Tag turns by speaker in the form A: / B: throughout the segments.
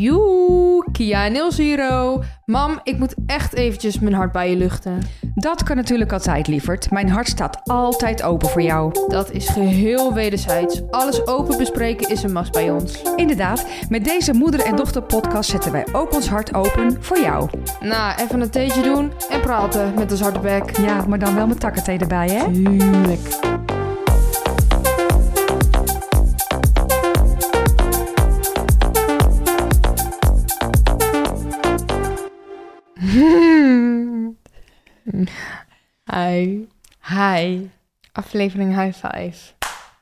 A: Joe, Kia 0 Mam, ik moet echt eventjes mijn hart bij je luchten.
B: Dat kan natuurlijk altijd, lieverd. Mijn hart staat altijd open voor jou.
A: Dat is geheel wederzijds. Alles open bespreken is een must bij ons.
B: Inderdaad, met deze moeder- en dochter-podcast zetten wij ook ons hart open voor jou.
A: Nou, even een theetje doen en praten met ons harde bek.
B: Ja, maar dan wel met takkenthee erbij, hè?
A: Tuurlijk. Hi. Hi. Aflevering High Five.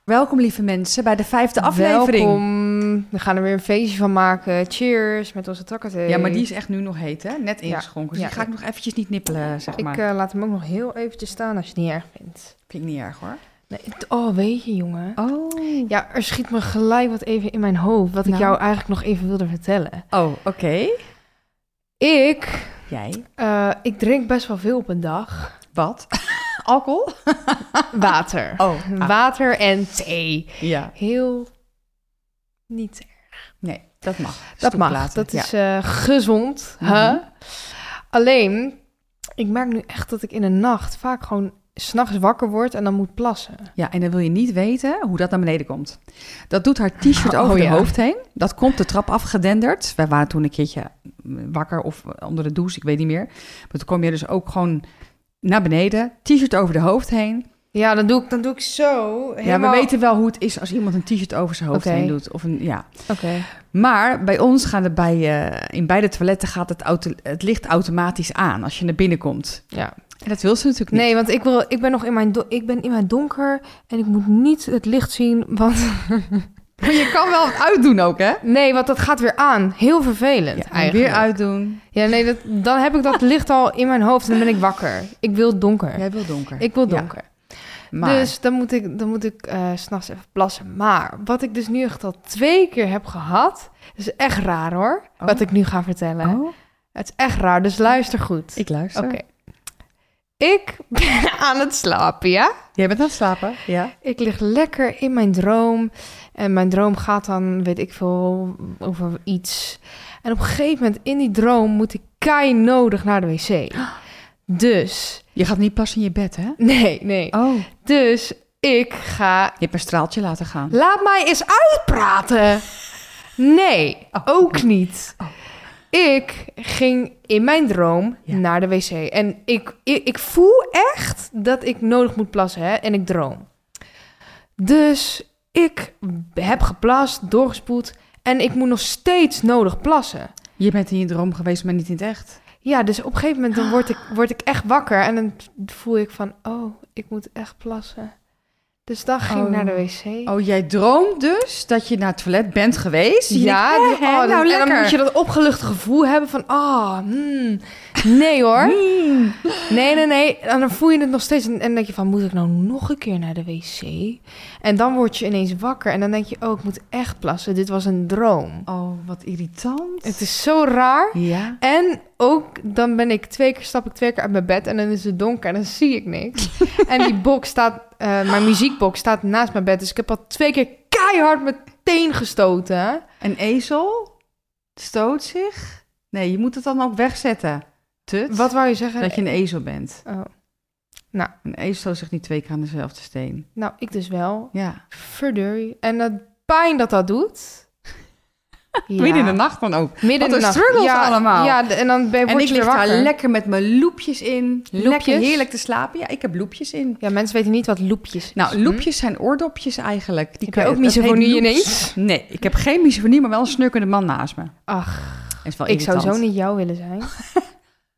B: Welkom, lieve mensen, bij de vijfde aflevering.
A: Welkom. We gaan er weer een feestje van maken. Cheers met onze takkenthee.
B: Ja, maar die is echt nu nog heet, hè? Net ingeschonken. dus
A: Ja.
B: die ga ik nog eventjes niet nippelen, zeg
A: Ik
B: maar.
A: eh, laat hem ook nog heel eventjes staan als je het niet erg vindt.
B: Vind ik niet erg, hoor.
A: Nee, het- oh, weet je, jongen.
B: Oh.
A: Ja, er schiet me gelijk wat even in mijn hoofd. Wat ik
B: Nou.
A: jou eigenlijk nog even wilde vertellen.
B: Oh, oké.
A: Ik,
B: Jij?
A: eh, ik drink best wel veel op een dag.
B: Wat? Alcohol?
A: Water.
B: Oh.
A: Water en thee.
B: Ja.
A: Heel niet
B: Nee, dat mag.
A: Dat mag.
B: Stoeplaten,
A: Dat
B: ja.
A: is eh, gezond. hè?
B: Mhm.
A: Alleen, ik merk nu echt dat ik in de nacht vaak gewoon s'nachts wakker word en dan moet plassen.
B: Ja, en dan wil je niet weten hoe dat naar beneden komt. Dat doet haar t-shirt
A: Oh,
B: over
A: ja.
B: de hoofd heen. Dat komt de trap afgedenderd. Wij waren toen een keertje wakker of onder de douche, ik weet niet meer. Maar toen kom je dus ook gewoon naar beneden, t-shirt over de hoofd heen.
A: Ja, dan doe ik, dan doe ik zo.
B: Ja,
A: helemaal-
B: we weten wel hoe het is als iemand een t-shirt over zijn hoofd
A: Oké.
B: heen doet. Of een, ja.
A: Oké.
B: Maar bij ons gaan er bij, eh, in beide toiletten gaat het, auto, het licht automatisch aan als je naar binnen komt.
A: Ja.
B: En dat wil ze natuurlijk niet.
A: Nee, want ik, wil, ik ben nog in mijn, do- ik ben in mijn donker en ik moet niet het licht zien. Want
B: Maar je kan wel het uitdoen ook, hè?
A: nee, want dat gaat weer aan. Heel vervelend
B: Ja, en
A: eigenlijk.
B: weer uitdoen.
A: Ja, nee, dat, dan heb ik dat licht al in mijn hoofd en dan ben ik wakker. Ik wil donker.
B: Jij wil donker.
A: Ik wil
B: Ja,
A: donker.
B: maar...
A: Dus dan moet ik, dan moet ik eh, 's s'nachts even plassen. Maar wat ik dus nu echt al twee keer heb gehad, is echt raar hoor.
B: Oh.
A: Wat ik nu ga vertellen. Het is echt raar, dus luister goed.
B: Ik luister.
A: Oké. Ik ben aan het slapen, ja?
B: Jij bent aan het slapen? Ja.
A: Ik lig lekker in mijn droom. En mijn droom gaat dan, weet ik veel, over iets. En op een gegeven moment in die droom moet ik kei nodig naar de wc. Dus,
B: Je gaat niet pas in je bed, hè?
A: nee, nee.
B: Oh. Je
A: Dus ik ga
B: hebt een straaltje laten gaan.
A: Laat mij eens uitpraten. Nee, ook niet.
B: Oh.
A: Ik ging in mijn droom
B: Ja.
A: naar de wc. En ik, ik, ik voel echt dat ik nodig moet plassen. Hè? En ik droom. Dus ik heb geplast, doorgespoeld. En ik moet nog steeds nodig plassen.
B: Je bent in je droom geweest, maar niet in het echt.
A: Ja, dus op een gegeven moment dan word, ik, word ik echt wakker. En dan voel ik van, oh, ik moet echt plassen. Dus dan ging ik
B: Oh.
A: naar de wc.
B: Oh, jij droomt dus dat je naar het toilet bent geweest? Je
A: Ja,
B: denkt,
A: dus-
B: hè,
A: oh,
B: hè,
A: dan-
B: nou
A: en dan
B: lekker.
A: moet je dat opgelucht gevoel hebben van, ah, hmm, nee hoor.
B: Hmm.
A: Nee, nee, nee. En dan voel je het nog steeds en en dan denk je van, moet ik nou nog een keer naar de wc? En dan word je ineens wakker en dan denk je, oh, ik moet echt plassen. Dit was een droom.
B: Oh, wat irritant.
A: Het is zo raar.
B: Ja.
A: En ook, dan ben ik twee keer, stap ik twee keer uit mijn bed en dan is het donker en dan zie ik niks. en die box staat, eh, mijn muziekbox staat naast mijn bed. Dus ik heb al twee keer keihard meteen gestoten.
B: Een ezel stoot zich. Nee, je moet het dan ook wegzetten. Tut.
A: Wat wou je zeggen?
B: Dat je een ezel bent.
A: Oh.
B: Een ezel stoot zich niet twee keer aan dezelfde steen.
A: Nou, ik dus wel.
B: Ja.
A: Verdorie. En dat pijn dat dat doet. Ja.
B: Midden in de nacht dan ook.
A: Midden in
B: Wat
A: de
B: een
A: nacht.
B: struggles
A: ja,
B: allemaal.
A: Ja, de- en dan ben, word
B: En ik
A: je weer
B: lig daar
A: wakker.
B: lekker met mijn loepjes in. Lekker
A: Loepjes?
B: heerlijk te slapen. Ja, ik heb loepjes in.
A: Ja, mensen weten niet wat loepjes is.
B: Nou,
A: Hm?
B: loepjes zijn oordopjes eigenlijk. Die
A: Heb
B: kan
A: jij
B: je-
A: ook
B: dat heet
A: misofonie
B: loops.
A: ineens?
B: Nee, ik heb geen misofonie, maar wel een snurkende man naast me.
A: Ach,
B: Dat Is wel
A: ik zou
B: irritant.
A: zo niet jou willen zijn.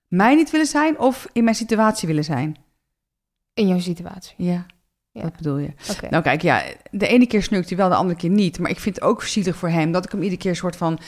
B: Mij niet willen zijn of in mijn situatie willen zijn.
A: In jouw situatie.
B: Ja,
A: Ja.
B: dat bedoel je.
A: Oké.
B: Nou kijk, ja, de ene keer snurkt hij wel, de andere keer niet. Maar ik vind het ook zielig voor hem dat ik hem iedere keer een soort van een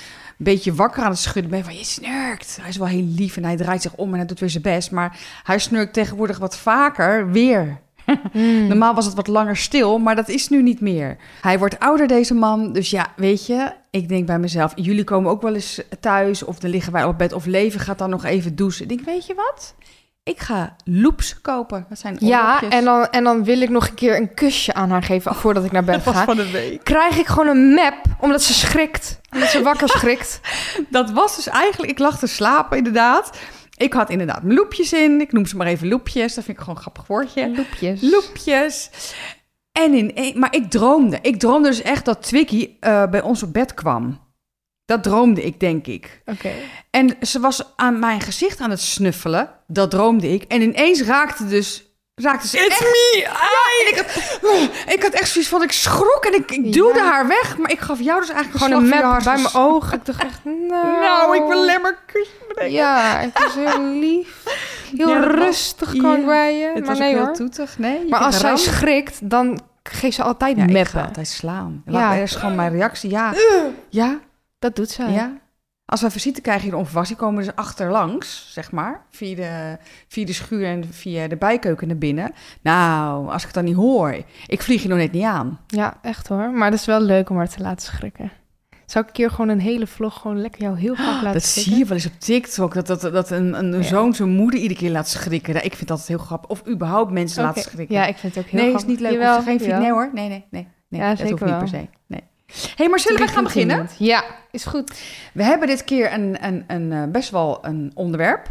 B: beetje wakker aan het schudden ben. Van je snurkt. Hij is wel heel lief en hij draait zich om en hij doet weer zijn best. Maar hij snurkt tegenwoordig wat vaker weer.
A: Hmm.
B: Normaal was het wat langer stil, maar dat is nu niet meer. Hij wordt ouder, deze man. Dus ja, weet je, ik denk bij mezelf: jullie komen ook wel eens thuis, of dan liggen wij op bed, of leven gaat dan nog even douchen. Ik denk, weet je wat? ik ga loops kopen. Dat zijn
A: Ja,
B: oorlogjes.
A: en dan, en dan wil ik nog een keer een kusje aan haar geven voordat ik naar bed
B: Oh, dat was
A: ga.
B: van de week.
A: Krijg ik gewoon een map, omdat ze schrikt. Omdat ze wakker schrikt.
B: Dat was dus eigenlijk, ik lag te slapen inderdaad. Ik had inderdaad mijn loepjes in. Ik noem ze maar even loepjes. Dat vind ik gewoon een grappig woordje.
A: Loepjes.
B: Loepjes. En in een- maar ik droomde. Ik droomde dus echt dat Twiggy eh, bij ons op bed kwam. Dat droomde ik, denk ik.
A: Oké.
B: En ze was aan mijn gezicht aan het snuffelen. Dat droomde ik. En ineens raakte dus... Raakte ze echt... me! Ja, en ik, had, oeh, ik had echt zoiets van... Ik schrok en ik, ik duwde
A: Ja.
B: haar weg. Maar ik gaf jou dus eigenlijk
A: Gewoon een
B: slag voor je
A: map bij mijn
B: hartslag.
A: ogen. Ik dacht echt, nou...
B: Nou, ik wil alleen maar kusje bedenken.
A: Ja, het is heel lief. Heel
B: Ja, dat was-
A: rustig kan
B: ja,
A: ik bij je.
B: Het
A: maar
B: was
A: nee
B: ook
A: hoor.
B: heel toetig, nee. Je
A: Maar
B: kunt
A: als zij
B: rammen.
A: schrikt, dan geeft ze altijd
B: Ja,
A: meppen.
B: ik ga altijd slaan.
A: Ja.
B: Laat mij eerst gewoon mijn reactie. Ja,
A: Eh.
B: ja,
A: Dat doet zij.
B: ja. Als wij visite krijgen hier onverwachts, die komen ze achterlangs, zeg maar. Via de, via de schuur en via de bijkeuken naar binnen. Nou, als ik het dan niet hoor. Ik vlieg je nog net niet aan.
A: Ja, echt hoor. Maar dat is wel leuk om haar te laten schrikken. Zou ik een keer gewoon een hele vlog gewoon lekker jou heel vaak laten
B: Ah, dat
A: schrikken?
B: zie je wel eens op TikTok. Dat, dat, dat een, een
A: Ja.
B: zoon zijn moeder iedere keer laat schrikken. Ja, Ik vind dat heel grappig. Of überhaupt mensen
A: Oké.
B: laten schrikken.
A: Ja, ik vind het ook heel
B: nee, is
A: grappig.
B: niet leuk. Hoeft
A: Jawel,
B: er geen video.
A: jawel.
B: Nee hoor, nee, nee, nee. nee
A: Ja,
B: dat
A: zeker
B: hoeft niet
A: wel.
B: per se. Nee. hey, maar zullen we gaan beginnen?
A: Ja, is goed.
B: We hebben dit keer een, een, een, eh, best wel een onderwerp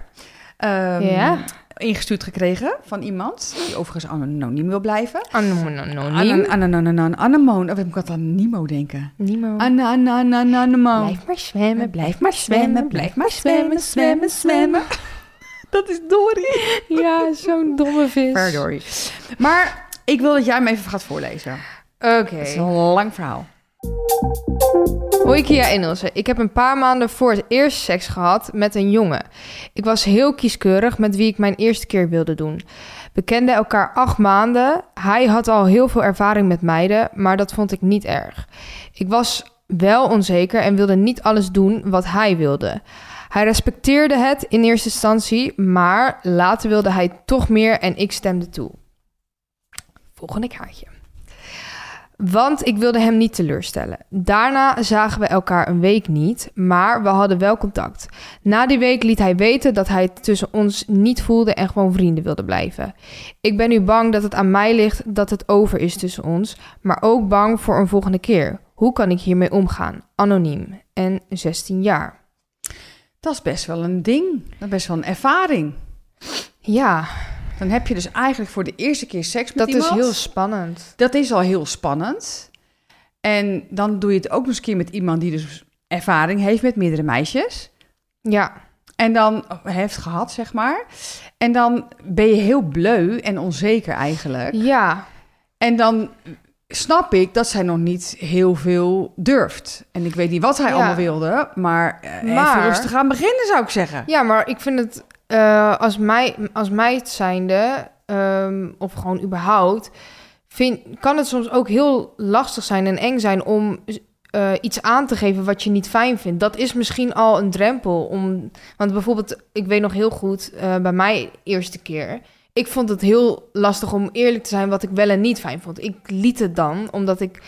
B: ehm,
A: Ja.
B: ingestuurd gekregen van iemand. Die overigens anoniem wil blijven.
A: Anoniem.
B: Anoniem. Anemoon. Of ik moet aan Nemo denken.
A: Niemand.
B: Anananananemoon.
A: Blijf maar zwemmen,
B: Blijf maar zwemmen, blijf maar zwemmen, zwemmen, zwemmen. Dat is Dory.
A: Ja, zo'n domme vis.
B: Ver Dory. Maar ik wil dat jij hem even gaat voorlezen.
A: Oké.
B: Het is een lang verhaal.
A: Hoi Kia Enelse, ik heb een paar maanden voor het eerst seks gehad met een jongen. Ik was heel kieskeurig met wie ik mijn eerste keer wilde doen. We kenden elkaar acht maanden. Hij had al heel veel ervaring met meiden, maar dat vond ik niet erg. Ik was wel onzeker en wilde niet alles doen wat hij wilde. Hij respecteerde het in eerste instantie, maar later wilde hij toch meer en ik stemde toe. Volgende kaartje. Want ik wilde hem niet teleurstellen. Daarna zagen we elkaar een week niet, maar we hadden wel contact. Na die week liet hij weten dat hij het tussen ons niet voelde en gewoon vrienden wilde blijven. Ik ben nu bang dat het aan mij ligt dat het over is tussen ons, maar ook bang voor een volgende keer. Hoe kan ik hiermee omgaan? Anoniem en 16 jaar.
B: Dat is best wel een ding. Dat is best wel een ervaring.
A: Ja,
B: Dan heb je dus eigenlijk voor de eerste keer seks met
A: dat is
B: iemand.
A: heel spannend.
B: dat is al heel spannend. En dan doe je het ook nog eens een keer met iemand die dus ervaring heeft met meerdere meisjes.
A: Ja,
B: En dan heeft gehad, zeg maar. En dan ben je heel bleu en onzeker eigenlijk.
A: ja,
B: En dan snap ik dat zij nog niet heel veel durft. En ik weet niet wat hij
A: Ja.
B: allemaal wilde, maar, eh
A: Maar-
B: even rustig aan beginnen zou ik zeggen.
A: Ja, maar ik vind het eh, als, mij, als meid zijnde, ehm, of gewoon überhaupt, vind, kan het soms ook heel lastig zijn en eng zijn om eh, iets aan te geven wat je niet fijn vindt. Dat is misschien al een drempel. Om, want bijvoorbeeld, ik weet nog heel goed, eh, bij mij eerste keer. Ik vond het heel lastig om eerlijk te zijn wat ik wel en niet fijn vond. Ik liet het dan, omdat ik,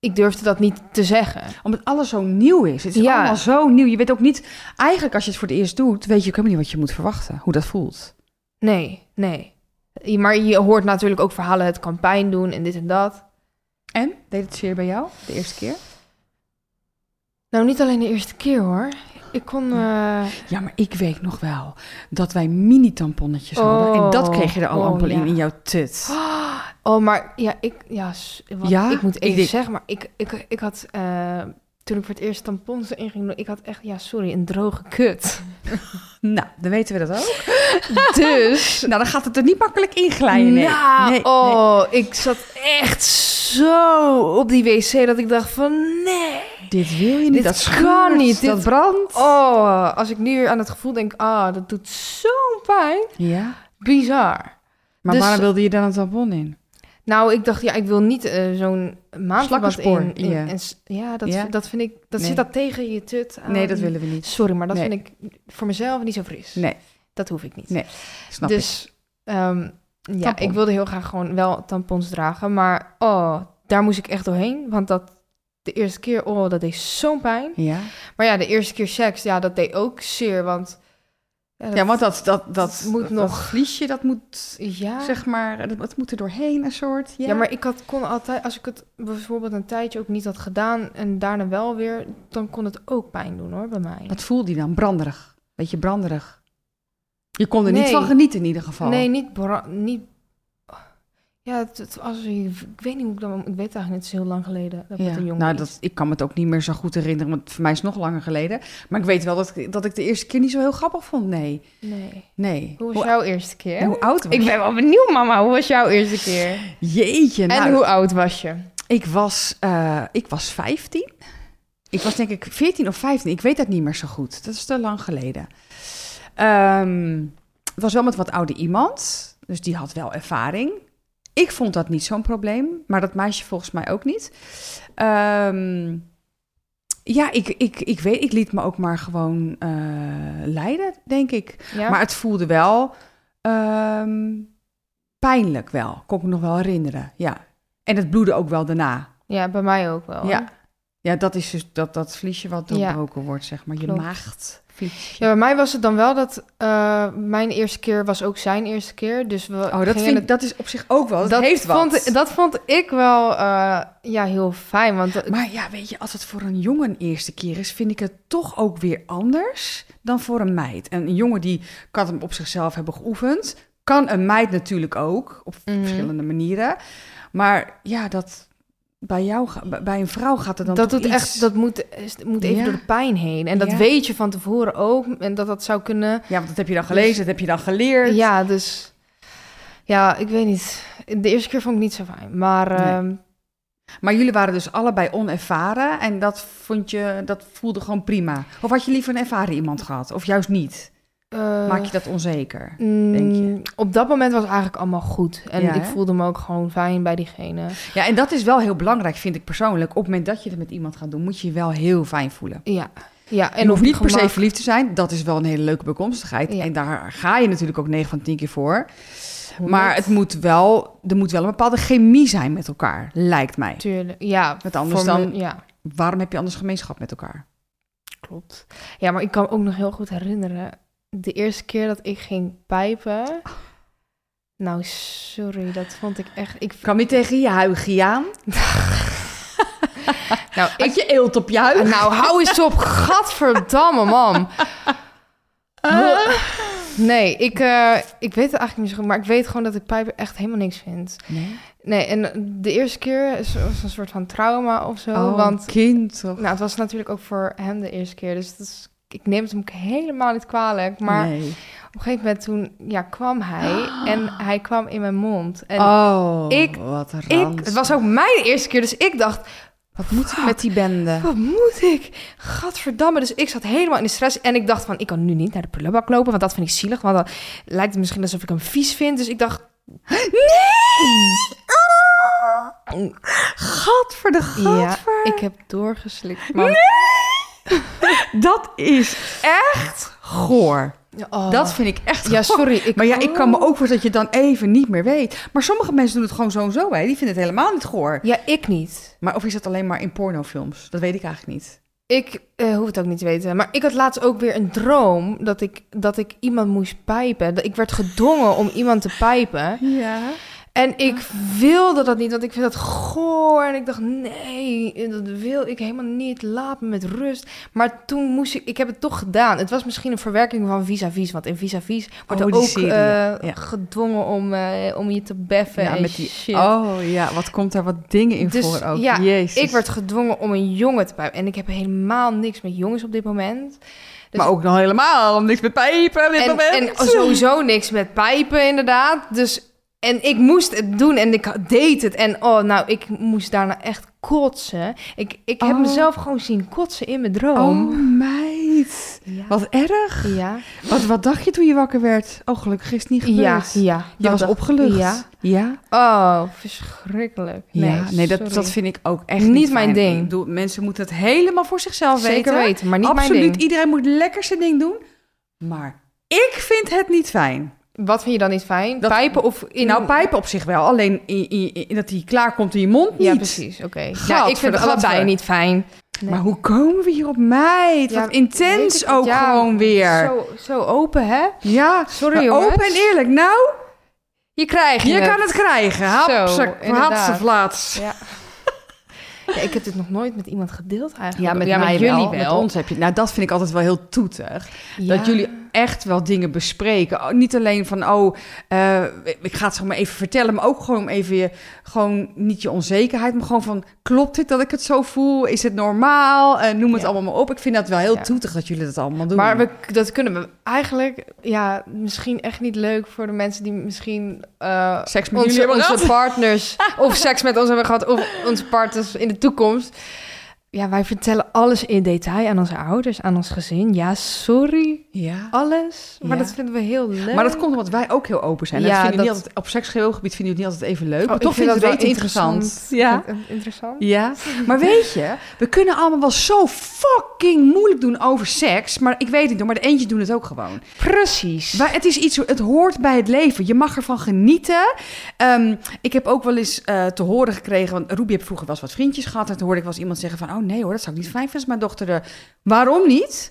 A: ik durfde dat niet te zeggen.
B: Omdat alles zo nieuw is. Het is
A: Ja.
B: allemaal zo nieuw. Je weet ook niet... Eigenlijk als je het voor het eerst doet, weet je ook helemaal niet wat je moet verwachten. Hoe dat voelt.
A: Nee, nee. Je- Maar je hoort natuurlijk ook verhalen, het kan pijn doen en dit en dat.
B: En? Deed het zeer bij jou de eerste keer?
A: Nou, niet alleen de eerste keer hoor. Ik kon... eh,
B: Ja, maar ik weet nog wel dat wij mini-tamponnetjes hadden. En
A: Oh.
B: dat kreeg je er al
A: Oh,
B: amper
A: ja.
B: in, in jouw tut.
A: Oh, maar ja, ik... Ja, s- want
B: Ja?
A: ik moet
B: Ik
A: even
B: denk-
A: zeggen, maar ik, ik, ik had... eh, toen ik voor het eerst tampons erin ging doen, ik had echt, ja, sorry, een droge kut.
B: Nou, dan weten we dat ook.
A: Dus...
B: Nou, dan gaat het er niet makkelijk in glijden. Nee.
A: Nou,
B: Nee, nee.
A: oh, ik zat echt zo op die wc dat ik dacht van, nee.
B: Dit wil je niet.
A: Dit
B: dat
A: kan
B: schuurt,
A: niet,
B: Dat
A: dit-
B: brandt.
A: Oh, als ik nu aan het gevoel denk, ah, dat doet zo'n pijn.
B: Ja.
A: Bizar.
B: Maar
A: Dus-
B: waarom wilde je dan een tampon in?
A: Nou, ik dacht, ja, ik wil niet eh, zo'n maandverband
B: Slakkerspoor
A: in. in
B: in je.
A: en s- ja, dat,
B: Ja?
A: dat vind ik, dat
B: Nee.
A: zit dat tegen je tut aan.
B: Nee, dat willen we niet.
A: Sorry, maar dat
B: Nee.
A: vind ik voor mezelf niet zo fris.
B: Nee,
A: Dat hoef ik niet.
B: Nee, snap ik.
A: dus ehm, ja,
B: Tampon.
A: ik wilde heel graag gewoon wel tampons dragen, maar oh, daar moest ik echt doorheen, want dat de eerste keer, oh, dat deed zo'n pijn.
B: Ja.
A: Maar ja, de eerste keer seks, ja, dat deed ook zeer, want dat-
B: ja, want dat, dat, dat,
A: moet
B: dat
A: nog-
B: vliesje, dat moet,
A: ja.
B: zeg maar, dat, dat moet er doorheen een soort. Ja,
A: Ja, maar ik had, kon altijd, als ik het bijvoorbeeld een tijdje ook niet had gedaan en daarna wel weer, dan kon het ook pijn doen hoor bij mij.
B: Wat voelde je dan? Branderig. Beetje branderig. Je kon er niet
A: Nee.
B: van genieten in ieder geval.
A: Nee, niet. bra- niet ja, het, het- als, ik, ik weet niet hoe ik dan. Ik weet eigenlijk, niet, het is heel lang geleden dat ik
B: Ja,
A: met een jongen.
B: nou,
A: iets-
B: dat, ik kan me het ook niet meer zo goed herinneren, want voor mij is het nog langer geleden. Maar ik weet wel dat, ik- dat ik de eerste keer niet zo heel grappig vond. Nee,
A: Nee.
B: nee.
A: Hoe was jouw eerste keer?
B: en hoe oud was
A: ik ben wel benieuwd, mama. Hoe was jouw eerste keer?
B: Jeetje, nou,
A: en hoe oud was je?
B: ik, was, eh, ik was 15. Ik was denk ik 14 of 15. Ik weet dat niet meer zo goed. Dat is te lang geleden. Ehm, het was wel met wat ouder iemand, dus die had wel ervaring. Ik vond dat niet zo'n probleem, maar dat meisje volgens mij ook niet. Ehm, ja, ik, ik, ik weet, ik liet me ook maar gewoon eh, leiden, denk ik.
A: Ja?
B: Maar het voelde wel ehm, pijnlijk wel. Kon ik me nog wel herinneren, ja. En het bloedde ook wel daarna.
A: ja, bij mij ook wel. hoor.
B: Ja. Ja, dat is dus dat, dat vliesje wat
A: Ja.
B: doorbroken wordt, zeg maar. Je
A: Klopt.
B: maagdvliesje.
A: Ja, bij mij was het dan wel dat eh, mijn eerste keer was ook zijn eerste keer. Dus we
B: Oh, dat, vind, ik- dat is op zich ook wel. Oh, Dat, heeft wat.
A: Vond, dat vond ik wel eh, ja, heel fijn. Want dat-
B: Maar ja, weet je, als het voor een jongen een eerste keer is, vind ik het toch ook weer anders dan voor een meid. En een jongen die kan hem op zichzelf hebben geoefend, kan een meid natuurlijk ook op
A: Mhm.
B: verschillende manieren. Maar ja, dat bij jou, ga- bij- bij een vrouw gaat het dan
A: dat,
B: toch
A: doet
B: iets-
A: echt, dat moet, is- moet even
B: Ja.
A: door de pijn heen. En dat
B: Ja.
A: weet je van tevoren ook. En dat dat zou kunnen.
B: Ja, want dat heb je dan gelezen, dat heb je dan geleerd.
A: Dus- Ja, dus. Ja, ik weet niet. De eerste keer vond ik niet zo fijn. Maar
B: Nee.
A: ehm,
B: Maar jullie waren dus allebei onervaren en dat vond je, dat voelde gewoon prima. Of had je liever een ervaren iemand gehad, of juist niet?
A: eh,
B: Maak je dat onzeker?
A: mm,
B: denk je?
A: Op dat moment was het eigenlijk allemaal goed. En
B: Ja,
A: ik
B: hè?
A: voelde me ook gewoon fijn bij diegene.
B: Ja, en dat is wel heel belangrijk, vind ik persoonlijk. Op het moment dat je het met iemand gaat doen, moet je je wel heel fijn voelen.
A: Ja. ja
B: En je
A: en
B: hoeft
A: of
B: niet per se verliefd te zijn. Dat is wel een hele leuke bijkomstigheid.
A: Ja.
B: En daar ga je natuurlijk ook 9 van 10 keer voor. Maar het moet wel, er moet wel een bepaalde chemie zijn met elkaar, lijkt mij.
A: Tuurlijk, ja.
B: Want anders
A: voor me-
B: dan-
A: Ja,
B: Waarom heb je anders gemeenschap met elkaar?
A: klopt. Ja, maar ik kan me ook nog heel goed herinneren... de eerste keer dat ik ging pijpen... Nou, sorry, dat vond ik echt... Ik,
B: Ik kwam niet tegen je huigie aan.
A: nou, ik,
B: Had je eelt op je huig?
A: nou, hou eens op. Gadverdamme, man.
B: Ah.
A: Huh. Nee, ik, eh, ik weet het eigenlijk niet zo goed... maar ik weet gewoon dat ik pijpen echt helemaal niks vind.
B: Nee.
A: Nee, en de eerste keer is- was een soort van trauma of zo.
B: Oh,
A: want
B: kind toch?
A: nou, het was natuurlijk ook voor hem de eerste keer... dus dat is- ik neem het hem ook helemaal niet kwalijk, maar...
B: Nee.
A: Op een gegeven moment toen ja, kwam hij en hij kwam in mijn mond. En
B: oh,
A: ik-
B: wat een
A: ik, het was ook mijn eerste keer, dus ik dacht,
B: Wat moet ik met die bende?
A: wat moet ik? Gadverdamme. Dus ik zat helemaal in de stress en ik dacht van, ik kan nu niet naar de prullenbak lopen, want dat vind ik zielig. Want dan lijkt het misschien alsof ik hem vies vind. Dus ik dacht,
B: Ah!
A: nee!
B: Gadver de
A: Ja, mm, ik heb doorgeslikt. man.
B: Dat is echt goor.
A: Oh.
B: Dat vind ik echt
A: ja,
B: goor.
A: sorry. Ik,
B: Maar ja, ik kan me ook voor dat je het dan even niet meer weet. Maar sommige mensen doen het gewoon zo en zo, hè. Die vinden het helemaal niet goor.
A: Ja, ik niet.
B: Maar of is dat alleen maar in pornofilms? Dat weet ik eigenlijk niet.
A: Ik eh, hoef het ook niet te weten. Maar ik had laatst ook weer een droom dat ik, dat ik iemand moest pijpen. Dat Ik werd gedwongen om iemand te pijpen.
B: Ja.
A: En ik
B: Ah.
A: wilde dat niet, want ik vind dat goor. En ik dacht, nee, dat wil ik helemaal niet. Laat me met rust. Maar toen moest ik... Ik heb het toch gedaan. Het was misschien een verwerking van vis-à-vis. Want in vis-à-vis wordt
B: Oh,
A: er
B: die
A: ook
B: serie,
A: eh,
B: ja.
A: gedwongen om, eh, om je te beffen
B: Ja,
A: en
B: met die...
A: shit.
B: Oh ja, wat komt daar wat dingen in
A: Dus,
B: voor ook.
A: ja,
B: Jezus.
A: Ik werd gedwongen om een jongen te pijpen. En ik heb helemaal niks met jongens op dit moment. dus-
B: Maar ook nog helemaal niks met pijpen op dit
A: en, oh,
B: moment.
A: en sowieso niks met pijpen, inderdaad. Dus, en ik moest het doen en ik deed het. En oh, nou, ik moest daarna echt kotsen. Ik, ik heb
B: Oh.
A: mezelf gewoon zien kotsen in mijn droom.
B: Oh meid,
A: Ja.
B: wat erg.
A: Ja,
B: Wat, wat dacht je toen je wakker werd? Oh, gelukkig is het niet
A: ja,
B: gebeurd.
A: ja.
B: Je was
A: Dat-
B: opgelucht.
A: Ja.
B: Ja.
A: Oh, verschrikkelijk. Nee,
B: ja, nee dat,
A: sorry.
B: dat vind ik ook echt
A: Niet
B: niet,
A: mijn
B: fijn.
A: ding.
B: Ik bedoel, mensen moeten het helemaal voor zichzelf
A: zeker
B: weten.
A: weten, maar niet
B: Absoluut,
A: mijn ding.
B: iedereen moet lekker zijn ding doen. Maar ik vind het niet fijn.
A: Wat vind je dan niet fijn?
B: Dat-
A: pijpen of in
B: Nou, pijpen op zich wel. Alleen i- i- i- dat die klaar komt in je mond niet.
A: Ja, precies. Oké. Ja, ik vind
B: Gadver,
A: het allebei
B: gadver.
A: niet fijn. Nee.
B: Maar hoe komen we hier op meid?
A: Ja,
B: Wat intens
A: weet ik-
B: ook
A: ja,
B: gewoon weer.
A: Zo, zo open, hè?
B: Ja,
A: Sorry,
B: maar
A: jongens.
B: open en eerlijk. Nou,
A: Je krijgt
B: je
A: het.
B: kan het krijgen.
A: Zo,
B: Hapsek,
A: inderdaad.
B: hapsevlaats.
A: Ja. ja, ik heb dit nog nooit met iemand gedeeld eigenlijk.
B: Ja, met, mij wel. Met ons heb je... Nou, dat vind ik altijd wel heel toeter.
A: Ja.
B: Dat jullie echt wel dingen bespreken. Oh, niet alleen van, oh, eh, ik ga het zeg maar even vertellen. Maar ook gewoon om even je, gewoon niet je onzekerheid. Maar gewoon van, klopt dit dat ik het zo voel? Is het normaal? Eh, noem het
A: Ja.
B: allemaal maar op. Ik vind dat wel heel
A: Ja.
B: toeter dat jullie dat allemaal doen.
A: Maar we, dat kunnen we eigenlijk... Ja, misschien echt niet leuk voor de mensen die misschien... eh,
B: Seks met jullie
A: onze,
B: hebben
A: onze
B: gehad.
A: partners of seks met ons hebben gehad... of onze partners in de toekomst. Ja, wij vertellen alles in detail aan onze ouders, aan ons gezin. Ja, sorry,
B: Ja.
A: alles. Maar
B: Ja.
A: dat vinden we heel leuk.
B: Maar dat komt omdat wij ook heel open zijn. En
A: Ja,
B: dat vinden jullie
A: dat-
B: niet altijd, op seksueel gebied vinden jullie het niet altijd even leuk.
A: Oh,
B: maar
A: ik
B: toch
A: vind
B: vinden
A: dat
B: we het
A: wel
B: interessant.
A: Ja.
B: Ja.
A: Interessant.
B: Ja, maar weet je, we kunnen allemaal wel zo fucking moeilijk doen over seks. Maar ik weet het nog, maar de eentjes doen het ook gewoon.
A: Precies.
B: Maar het is iets, het hoort bij het leven. Je mag ervan genieten. Ehm, ik heb ook wel eens eh, te horen gekregen, want Ruby heeft vroeger wel eens wat vriendjes gehad. En toen hoorde ik wel eens iemand zeggen van, oh nee hoor, dat zou ik niet fijn vinden als mijn dochter. eh, Waarom niet?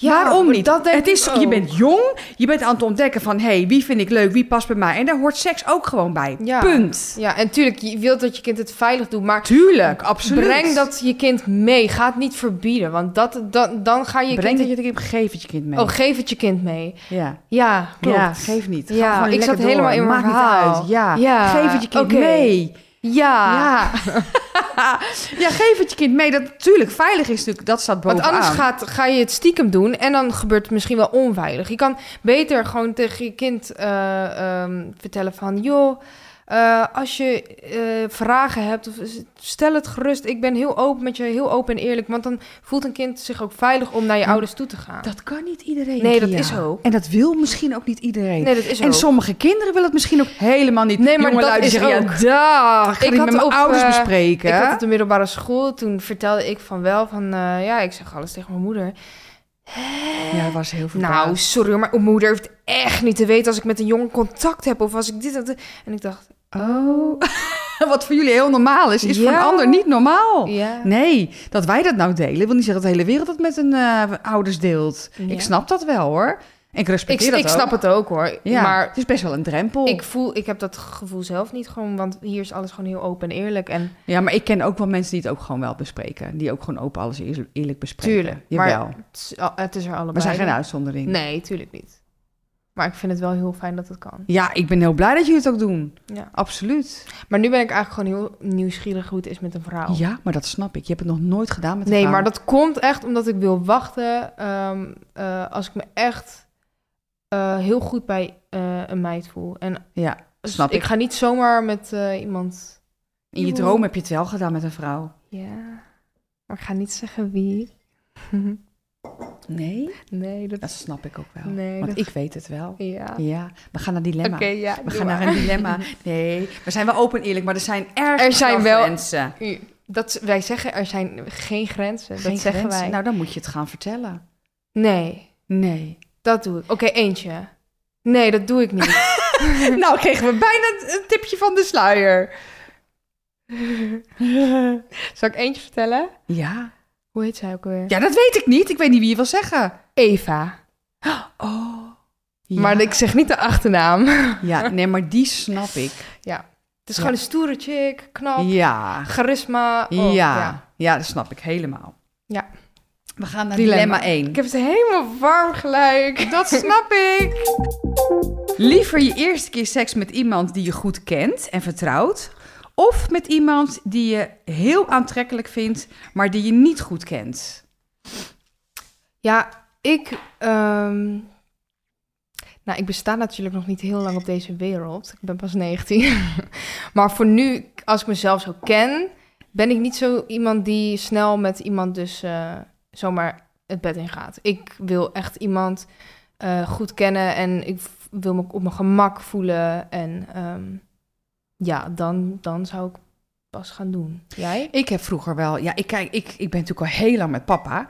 B: Waarom niet?
A: Dat denk
B: het
A: ik
B: is,
A: ook.
B: je bent jong, je bent aan het ontdekken van, hey, wie vind ik leuk, wie past bij mij? En daar hoort seks ook gewoon bij.
A: Ja.
B: Punt.
A: Ja, en tuurlijk, je wilt dat je kind het veilig doet, maar
B: Tuurlijk, absoluut.
A: breng dat je kind mee. Ga het niet verbieden, want dat, dan, dan ga je
B: Breng
A: kind...
B: dat je het kind geef het je kind mee.
A: Oh, geef het je kind mee.
B: ja.
A: Ja, klopt.
B: ja, geef niet. Ga
A: Ja,
B: gewoon
A: ik
B: lekker
A: zat
B: door.
A: helemaal in mijn
B: Maakt niet
A: verhaal.
B: uit. Ja.
A: Ja,
B: geef het je kind
A: oké.
B: mee.
A: Ja.
B: Ja. ja, geef het je kind mee. Dat natuurlijk veilig is natuurlijk. Dat staat
A: Want
B: bovenaan.
A: anders gaat, ga je het stiekem doen en dan gebeurt het misschien wel onveilig. Je kan beter gewoon tegen je kind eh, ehm, vertellen van... joh, eh, als je eh, vragen hebt, of is- stel het gerust. Ik ben heel open met je, heel open en eerlijk. Want dan voelt een kind zich ook veilig om naar je ouders toe te gaan.
B: Dat kan niet iedereen.
A: Nee, dat
B: Kia.
A: is ook.
B: En dat wil misschien ook niet iedereen.
A: Nee, dat is ook.
B: en sommige kinderen willen het misschien ook helemaal niet.
A: Nee, maar
B: Jongelui
A: dat
B: die
A: is
B: zeggen,
A: ook.
B: Ja, dag.
A: Ik
B: Ga ik niet
A: had
B: met mijn
A: op,
B: ouders
A: eh,
B: bespreken.
A: Ik had op de middelbare school, toen vertelde ik van wel van... eh, ja, ik zeg alles tegen mijn moeder.
B: Ja, dat was heel veel.
A: Nou, sorry hoor, maar mijn moeder heeft echt niet te weten... als ik met een jongen contact heb of als ik dit... en dat- En ik dacht,
B: Oh. Wat voor jullie heel normaal is, is voor een
A: Ja.
B: ander niet normaal.
A: ja.
B: Nee, dat wij dat nou delen, wil niet zeggen dat de hele wereld dat met hun eh, ouders deelt.
A: Ja.
B: Ik snap dat wel hoor. En ik
A: Ik,
B: respecteer dat
A: ik
B: ook.
A: snap het ook hoor.
B: Ja, Oh. maar
A: Maar
B: het is best wel een drempel.
A: ik, voel, ik heb dat gevoel zelf niet gewoon. Want hier is alles gewoon heel open en eerlijk. En
B: Ja, maar ik ken ook wel mensen die het ook gewoon wel bespreken. Die ook gewoon open alles eer- eerlijk bespreken.
A: Tuurlijk, maar
B: Jawel.
A: het is, al- het is er allebei.
B: we zijn geen
A: hè?
B: uitzondering.
A: Nee, tuurlijk niet. Maar ik vind het wel heel fijn dat het kan.
B: Ja, ik ben heel blij dat jullie het ook doen.
A: Ja.
B: Absoluut.
A: Maar nu ben ik eigenlijk gewoon heel nieuwsgierig hoe het is met een vrouw.
B: Ja, maar dat snap ik. Je hebt het nog nooit gedaan met een
A: nee,
B: vrouw.
A: maar dat komt echt omdat ik wil wachten. ehm, eh, als ik me echt eh, heel goed bij eh, een meid voel. En dus
B: Ja, snap
A: ik.
B: ik.
A: ga niet zomaar met eh, iemand.
B: In je droom heb je het wel gedaan met een vrouw.
A: Ja. Maar ik ga niet zeggen wie.
B: Nee?
A: nee, dat
B: Dat snap ik ook wel.
A: Nee,
B: Want
A: dat-
B: ik weet het wel.
A: Ja.
B: Ja, we gaan naar dilemma.
A: ja.
B: We gaan naar een dilemma. Nee, we zijn wel open en eerlijk, maar er zijn erg
A: Er zijn
B: veel
A: wel-
B: grenzen.
A: Dat, wij zeggen er zijn geen grenzen. dat zeggen wij.
B: Nou, dan moet je het gaan vertellen.
A: Nee,
B: Nee.
A: dat doe ik. Oké, eentje. Nee, dat doe ik niet.
B: nou, kregen we bijna een tipje van de sluier.
A: Zal ik eentje vertellen?
B: Ja.
A: Hoe heet zij ook alweer?
B: Ja, dat weet ik niet. Ik weet niet wie je wil zeggen.
A: Eva.
B: Oh.
A: Maar ik zeg niet de achternaam. Het
B: Ja, nee, maar die snap ik.
A: is
B: Ja.
A: gewoon een stoere chick, knap,
B: Ja.
A: charisma.
B: Ja.
A: Oh,
B: Oh. ja. dat snap ik helemaal.
A: Ja.
B: We gaan naar
A: Dilemma.
B: dilemma 1.
A: Ik heb het helemaal warm gelijk.
B: Dat snap ik. Liever je eerste keer seks met iemand die je goed kent en vertrouwt. Of met iemand die je heel aantrekkelijk vindt, maar die je niet goed kent.
A: Ja, ik. ehm, Nou, ik besta natuurlijk nog niet heel lang op deze wereld. Ik ben pas 19. maar voor nu, als ik mezelf zo ken, ben ik niet zo iemand die snel met iemand dus eh, zomaar het bed in gaat. Ik wil echt iemand eh, goed kennen en ik v- wil me op mijn gemak voelen. En ehm, ja, dan, dan zou ik pas gaan doen. Jij?
B: Ik heb vroeger wel, ja, ik kijk, ik, ik ben natuurlijk al heel lang met papa.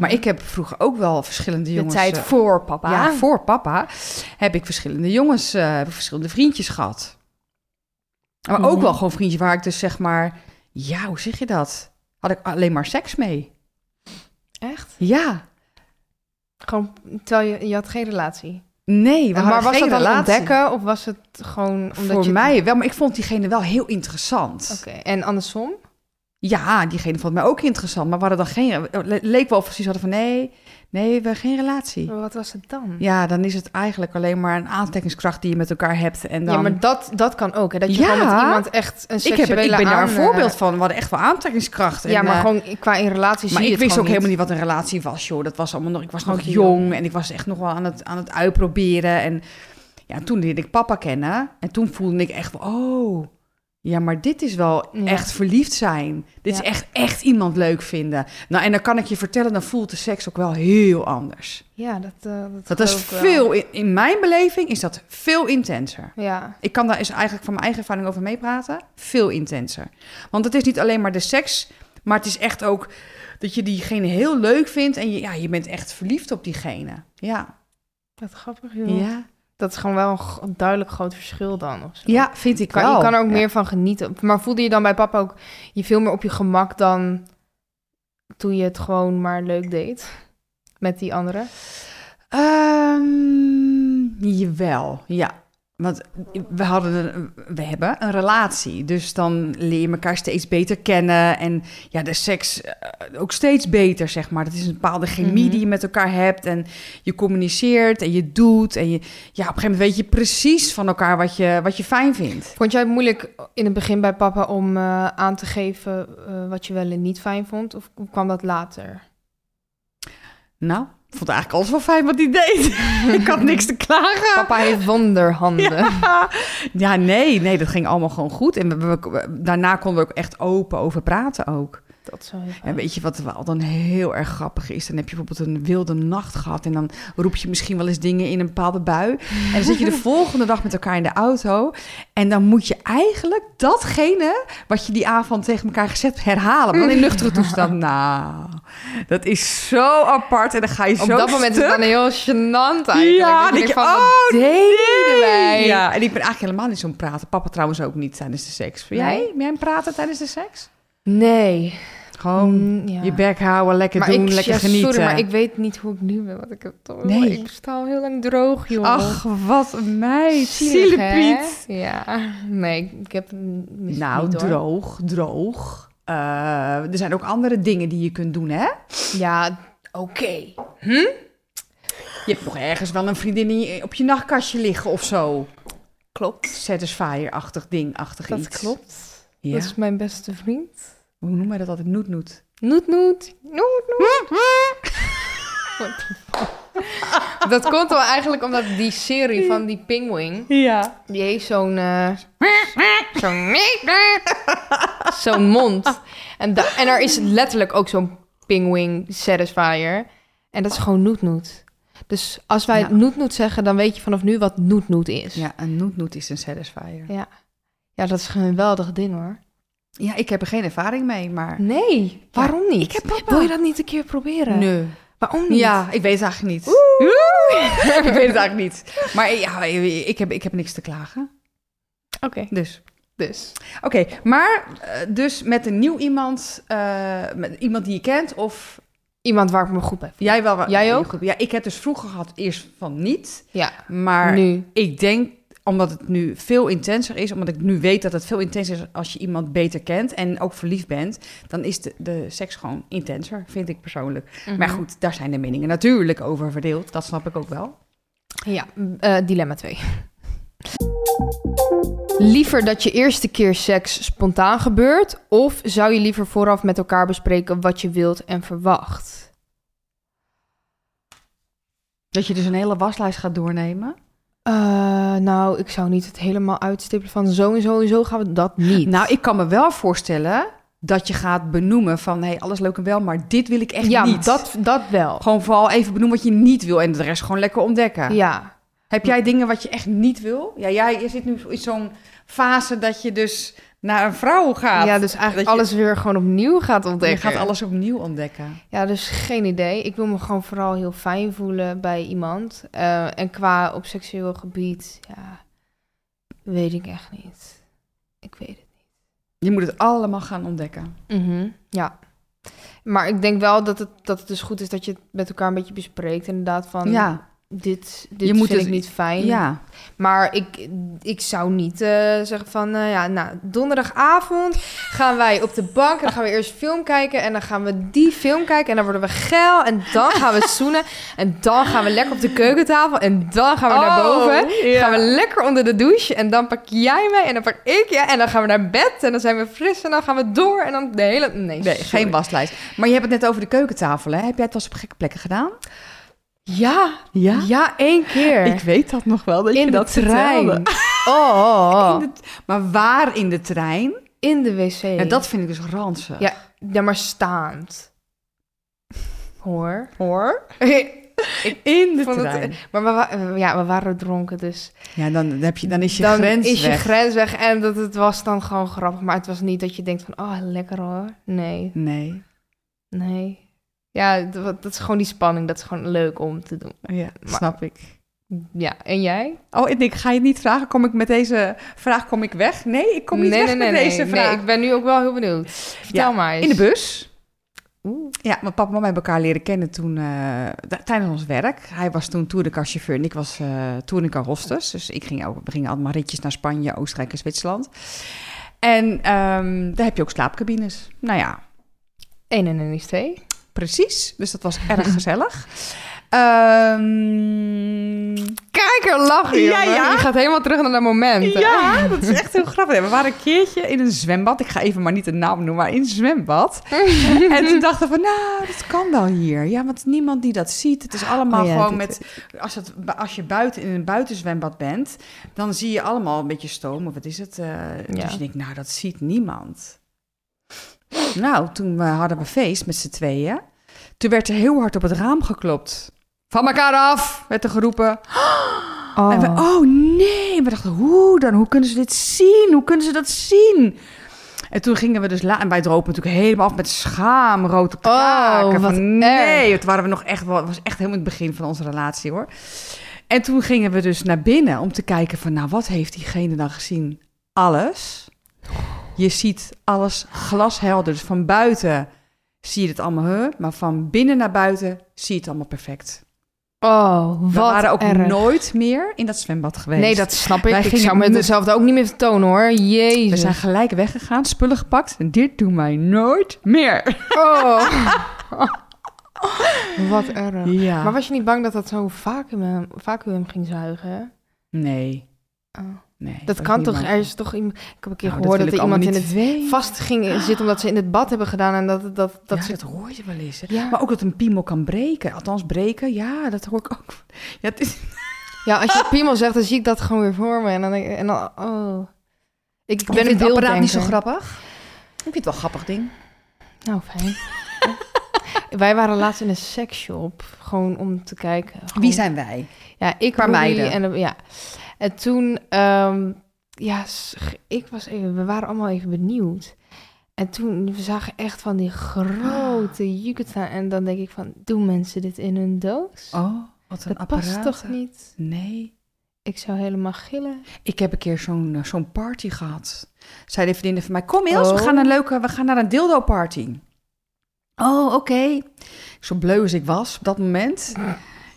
B: Maar ik heb vroeger ook wel verschillende
A: de
B: jongens.
A: tijd
B: eh,
A: voor papa.
B: ja, voor papa heb ik verschillende jongens, eh, heb ik verschillende vriendjes gehad. Maar ook
A: Mhm.
B: wel gewoon vriendjes waar ik dus zeg maar, ja, hoe zeg je dat? had ik alleen maar seks mee.
A: Echt?
B: Ja.
A: Gewoon, terwijl je, je had geen relatie.
B: Nee, we
A: En
B: hadden
A: maar was
B: geen
A: dat dan
B: relatie.
A: ontdekken of was het gewoon omdat
B: Voor
A: je...
B: mij wel, maar ik vond diegene wel heel interessant.
A: Oké, en andersom?
B: Ja, diegene vond mij ook interessant, maar we hadden dan geen... le- leek wel of ze hadden van nee, nee, we hebben geen relatie.
A: Maar wat was het dan?
B: Ja, dan is het eigenlijk alleen maar een aantrekkingskracht die je met elkaar hebt. En dan...
A: Ja, maar dat, dat kan ook. Hè? Dat je
B: Ja.
A: gewoon met iemand echt een
B: ik,
A: seksuele
B: heb, ik ben daar een
A: aan- eh,
B: voorbeeld van. We hadden echt wel aantrekkingskracht.
A: Ja,
B: en,
A: maar
B: eh,
A: gewoon qua in relaties
B: maar
A: zie je het
B: ik wist ook
A: gewoon
B: helemaal niet wat een relatie was, joh. Dat was allemaal nog, ik was nog
A: Nog
B: jong en ik was echt nog wel aan het, aan het uitproberen. En ja, toen leerde ik papa kennen. En toen voelde ik echt, wel, oh, ja, maar dit is wel
A: Ja.
B: echt verliefd zijn. Dit
A: Ja.
B: is echt, echt iemand leuk vinden. Nou, en dan kan ik je vertellen, dan voelt de seks ook wel heel anders.
A: Ja, dat, eh, dat,
B: Dat is
A: geloof ik wel.
B: veel, in, in mijn beleving is dat veel intenser.
A: Ja,
B: Ik kan daar eens eigenlijk van mijn eigen ervaring over meepraten. Veel intenser. Want het is niet alleen maar de seks, maar het is echt ook dat je diegene heel leuk vindt en je, ja, je bent echt verliefd op diegene. Ja.
A: wat grappig, joh.
B: ja.
A: Dat is gewoon wel een g- een duidelijk groot verschil dan. Of zo.
B: Ja, vind ik
A: Je kan,
B: wel.
A: je kan er ook
B: Ja.
A: meer van genieten. Maar voelde je dan bij papa ook je veel meer op je gemak dan toen je het gewoon maar leuk deed met die andere?
B: Ehm, jawel, ja. Want we, hadden een, we hebben een relatie. Dus dan leer je elkaar steeds beter kennen. En ja, de seks eh, ook steeds beter, zeg maar. Dat is een bepaalde chemie
A: Mhm.
B: die je met elkaar hebt. En je communiceert en je doet. En je, ja, op een gegeven moment weet je precies van elkaar wat je, wat je fijn vindt.
A: Vond jij het moeilijk in het begin bij papa om eh, aan te geven eh, wat je wel en niet fijn vond? Of kwam dat later?
B: Nou, ik vond eigenlijk alles wel fijn wat hij deed. ik had niks te klagen.
A: Papa heeft wonderhanden.
B: Ja. Ja, nee, nee, dat ging allemaal gewoon goed. En we, we- we- daarna konden we ook echt open over praten ook.
A: Dat is wel heel fijn.
B: En weet je wat wel dan heel erg grappig is? Dan heb je bijvoorbeeld een wilde nacht gehad... en dan roep je misschien wel eens dingen in een bepaalde bui. En dan zit je de volgende dag met elkaar in de auto... en dan moet je eigenlijk datgene wat je die avond tegen elkaar gezegd hebt... herhalen, maar dan in nuchtere toestand. Nou, dat is zo apart en dan ga je zo
A: Op dat moment is
B: stuk.
A: het dan heel gênant eigenlijk.
B: Ja,
A: dat je
B: denk
A: denkt
B: je,
A: van,
B: oh
A: wat deden
B: nee.
A: wij?
B: Ja, en ik ben eigenlijk helemaal niet zo'n praten. Papa trouwens ook niet tijdens de seks. Ben jij,
A: Nee?
B: ben jij een praten tijdens de seks?
A: Nee.
B: Gewoon
A: Mm, ja.
B: Oh, je bek houden, lekker
A: maar
B: doen,
A: ik,
B: lekker
A: ja,
B: genieten.
A: Sorry, maar ik weet niet hoe ik nu ben, want ik heb toch...
B: Nee.
A: Ik sta al heel lang droog, joh.
B: Ach, wat een meid.
A: Zielig,
B: Zielepiet.
A: hè? Ja. Nee, ik, ik heb... het mis-
B: Nou,
A: niet, hoor.
B: droog, droog. Eh, er zijn ook andere dingen die je kunt doen, hè? Hm?
A: Ja, oké.
B: Je hebt nog ergens wel een vriendin in je- op je nachtkastje liggen of zo.
A: Klopt.
B: Satisfier-achtig ding-achtig
A: Dat
B: iets.
A: klopt.
B: Ja.
A: Dat is mijn beste vriend.
B: Hoe noemen wij dat altijd? Noet-noet.
A: Noet, noet. Noet, noet. Dat komt wel eigenlijk omdat die serie van die pingwing...
B: Ja.
A: Die heeft zo'n... eh, zo'n... zo'n mond. En, da- en er is letterlijk ook zo'n pingwing satisfier. En dat is gewoon noetnoet. Dus als wij
B: Ja.
A: noetnoet zeggen, dan weet je vanaf nu wat noetnoet is.
B: Ja, een noet-noet is een satisfier.
A: Ja, dat is een geweldig ding hoor.
B: Ja, ik heb er geen ervaring mee, maar...
A: Nee, waarom niet?
B: ik heb papa.
A: Wil je dat niet een keer proberen?
B: Nee.
A: Waarom niet?
B: Ja, ik weet het eigenlijk niet. ik weet het eigenlijk niet. Maar ja, ik heb, ik heb niks te klagen.
A: Oké,
B: Dus.
A: dus.
B: Oké, maar eh, dus met een nieuw iemand, eh, met iemand die je kent of
A: Iemand waar ik me goed bij voel.
B: jij wel.
A: Jij ook?
B: Goed. Ja, ik heb dus vroeger gehad eerst van niet,
A: Ja,
B: maar
A: nu.
B: ik denk omdat het nu veel intenser is, omdat ik nu weet dat het veel intenser is als je iemand beter kent en ook verliefd bent, dan is de, de seks gewoon intenser, vind ik persoonlijk. Maar
A: Mhm.
B: goed, daar zijn de meningen natuurlijk over verdeeld. Dat snap ik ook wel.
A: Ja, eh, dilemma 2. Liever dat je eerste keer seks spontaan gebeurt, of zou je liever vooraf met elkaar bespreken wat je wilt en verwacht?
B: Dat je dus een hele waslijst gaat doornemen.
A: Eh, nou, ik zou niet het helemaal uitstippelen van zo en zo en zo gaan we dat niet.
B: Nou, ik kan me wel voorstellen dat je gaat benoemen van... hé, hey, alles leuk en wel, maar dit wil ik echt
A: ja,
B: niet.
A: Dat, dat wel.
B: Gewoon vooral even benoemen wat je niet wil en de rest gewoon lekker ontdekken.
A: Ja.
B: Heb jij dingen wat je echt niet wil? Ja, jij je zit nu in zo'n fase dat je dus naar een vrouw gaat.
A: ja, dus eigenlijk
B: dat je-
A: alles weer gewoon opnieuw gaat ontdekken.
B: je gaat alles opnieuw ontdekken.
A: Ja, dus geen idee. Ik wil me gewoon vooral heel fijn voelen bij iemand. Eh, en qua op seksueel gebied, ja, weet ik echt niet. Ik weet het.
B: Je moet het allemaal gaan ontdekken.
A: Ja. Maar ik denk wel dat het, dat het dus goed is dat je het met elkaar een beetje bespreekt. Inderdaad, van
B: ja,
A: dit, dit
B: Je moet
A: vind
B: het-
A: ik niet fijn.
B: ja.
A: Maar ik, ik zou niet eh, zeggen van, eh, ja, nou, donderdagavond gaan wij op de bank en dan gaan we eerst film kijken en dan gaan we die film kijken en dan worden we geil en dan gaan we zoenen en dan gaan we lekker op de keukentafel en dan gaan we
B: Oh,
A: naar boven. Gaan we lekker onder de douche en dan pak jij mij en dan pak ik je en dan gaan we naar bed en dan zijn we fris en dan gaan we door en dan de hele... Nee,
B: Nee,
A: sorry.
B: geen waslijst. Maar je hebt het net over de keukentafel, hè? Heb jij het wel eens op gekke plekken gedaan?
A: Ja,
B: Ja.
A: ja, één keer.
B: Ik weet dat nog wel, dat
A: in
B: je
A: de
B: dat
A: trein.
B: vertelde.
A: Oh, oh, oh.
B: In de- maar waar in de trein?
A: In de wc.
B: Ja, dat vind ik dus ranzig.
A: Ja. Ja, maar staand. Hoor.
B: Hoor? in de
A: vond het-
B: trein.
A: Maar we, wa- eh, ja, we waren dronken, dus
B: Ja, dan, heb je, dan is je
A: dan
B: grens
A: is je
B: weg.
A: grens weg. En dat, het was dan gewoon grappig. Maar het was niet dat je denkt van, oh, lekker hoor. Nee,
B: nee.
A: nee. Ja, d- wat- dat is gewoon die spanning. Dat is gewoon leuk om te doen.
B: Ja,
A: Maar-
B: snap ik.
A: Ja, en jij?
B: Oh, en ik ga je niet vragen, kom ik met deze vraag kom ik weg? Nee, ik kom niet
A: nee,
B: weg
A: nee, nee,
B: met
A: nee,
B: deze
A: nee.
B: vraag.
A: ik ben nu ook wel heel benieuwd. Vertel maar eens.
B: In de bus.
A: Oeh.
B: Ja, mijn papa en mama hebben elkaar leren kennen toen, eh, da- tijdens ons werk. Hij was toen touringcarchauffeur en ik was eh touringcar hostess. Dus ik ging ook, we gingen allemaal ritjes naar Spanje, Oostenrijk en Zwitserland. En ehm, daar heb je ook slaapcabines. Nou ja,
A: Eén en één is twee.
B: precies. Dus dat was erg gezellig. Ehm
A: Kijk, er lachen,
B: Ja,
A: jongen.
B: ja.
A: Je gaat helemaal terug naar dat moment. hè?
B: Ja, dat is echt heel grappig. We waren een keertje in een zwembad. Ik ga even maar niet de naam noemen, maar in een zwembad. en toen dachten we van, nou, dat kan wel hier. Ja, want niemand die dat ziet. Het is allemaal
A: Oh ja,
B: gewoon
A: dit-
B: met... Als, het, als je buiten in een buitenzwembad bent, dan zie je allemaal een beetje stoom. Of wat is het? eh, Dus je denkt, nou, dat ziet niemand. Nou, toen eh, hadden we feest met z'n tweeën. Toen werd er heel hard op het raam geklopt. Van elkaar af, werd er geroepen.
A: Oh.
B: En we, oh nee, we dachten, hoe dan? Hoe kunnen ze dit zien? Hoe kunnen ze dat zien? En toen gingen we dus la en wij dropen natuurlijk helemaal af met schaamrood op de
A: Oh,
B: kaken.
A: wat
B: van, nee, het waren we nog echt, wel- het was echt helemaal het begin van onze relatie hoor. En toen gingen we dus naar binnen om te kijken van, nou wat heeft diegene dan gezien? Alles. Je ziet alles glashelder. Dus van buiten zie je het allemaal, huh? maar van binnen naar buiten zie je het allemaal perfect.
A: Oh, wat
B: We waren ook
A: erg.
B: nooit meer in dat zwembad geweest.
A: Nee, dat snap ik.
B: Wij
A: ik
B: gingen
A: zou me
B: nu-
A: hetzelfde ook niet meer vertonen hoor. Jezus.
B: We zijn gelijk weggegaan, spullen gepakt. En dit doen wij nooit meer.
A: Oh. Wat erg.
B: Ja.
A: Maar was je niet bang dat dat zo'n vacuüm, vacuüm ging zuigen? hè?
B: Nee.
A: Oh.
B: nee.
A: Dat kan toch? Er is toch iemand... Ik heb een keer
B: Nou,
A: gehoord dat,
B: wil ik
A: er iemand in
B: allemaal
A: het
B: niet weten.
A: vast ging zitten omdat ze in het bad hebben gedaan en dat, dat, dat,
B: Ja,
A: ze...
B: dat hoor je wel eens. hè.
A: Ja.
B: Maar ook dat een piemel kan breken. Althans, breken, ja, dat hoor ik ook. Ja, het is...
A: ja,
B: Ah.
A: als je piemel zegt, dan zie ik dat gewoon weer voor me. En dan denk ik... En dan, oh. Ik
B: Ik
A: ben
B: vind
A: een
B: het apparaat niet zo
A: beelddenker.
B: grappig. Ik vind het wel een grappig ding.
A: Nou, fijn. Wij waren laatst in een seksshop, gewoon om te kijken.
B: Wie
A: Gewoon-
B: zijn wij?
A: Ja, ik,
B: Paar
A: Roelie
B: meiden.
A: En, de- ja. en toen, ehm, ja, sch- ik was even, we waren allemaal even benieuwd. En toen, we zagen echt van die grote jukut staan. En dan denk ik van, doen mensen dit in hun doos?
B: Oh, wat een
A: dat past toch niet?
B: Nee.
A: Ik zou helemaal gillen.
B: Ik heb een keer zo'n eh, zo'n party gehad. Zei de vriendin van mij: Kom, Ilse, we
A: Oh.
B: gaan naar een leuke, we gaan naar een dildo party. Oh, oké. Zo bleu als ik was op dat moment.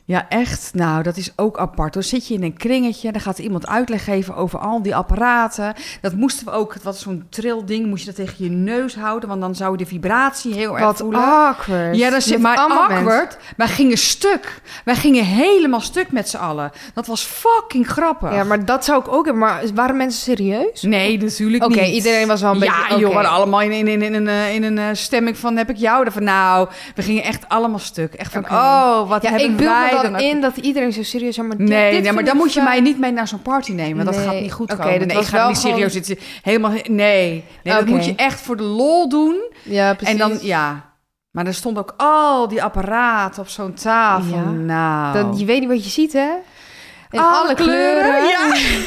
B: Ja, echt. Nou, dat is ook apart. Dan zit je in een kringetje, dan gaat iemand uitleg geven over al die apparaten. Dat moesten we ook, het was zo'n trilding, moest je dat tegen je neus houden, want dan zou je de vibratie heel erg
A: Wat
B: voelen.
A: awkward.
B: Ja, dat zit
A: Met
B: maar
A: allemaal mensen.
B: awkward. Wij gingen stuk. Wij gingen helemaal stuk met z'n allen. Dat was fucking grappig.
A: Ja, maar dat zou ik ook hebben. Maar waren mensen serieus?
B: Nee, natuurlijk
A: Oké,
B: niet.
A: iedereen was wel een
B: Ja,
A: beetje-
B: joh, we
A: oké.
B: waren allemaal in, in, in, in, een, eh, in een eh, stemming van heb ik jou ervan. Nou, we gingen echt allemaal stuk. Echt van,
A: Oké.
B: oh, wat
A: Ja,
B: hebben
A: ik beeld
B: wij
A: me
B: dan
A: dan
B: ook-
A: in dat iedereen zo serieus zou... Maar dit-
B: Nee,
A: dit
B: nee, maar
A: vind
B: dan
A: ik
B: moet je
A: zo-
B: mij niet mee naar zo'n party nemen. want Dat
A: Nee.
B: gaat niet goed
A: Oké,
B: komen.
A: dat
B: nee,
A: was
B: ik ga
A: wel
B: niet serieus
A: gewoon-
B: zitten. Helemaal, nee. Nee, dat
A: Oké.
B: moet je echt voor de lol doen.
A: Ja, precies.
B: En dan, ja. Maar er stond ook al die apparaten op zo'n tafel.
A: Ja.
B: Nou.
A: Dan, je weet niet wat je ziet, hè? In
B: Alle
A: alle,
B: kleuren,
A: kleuren.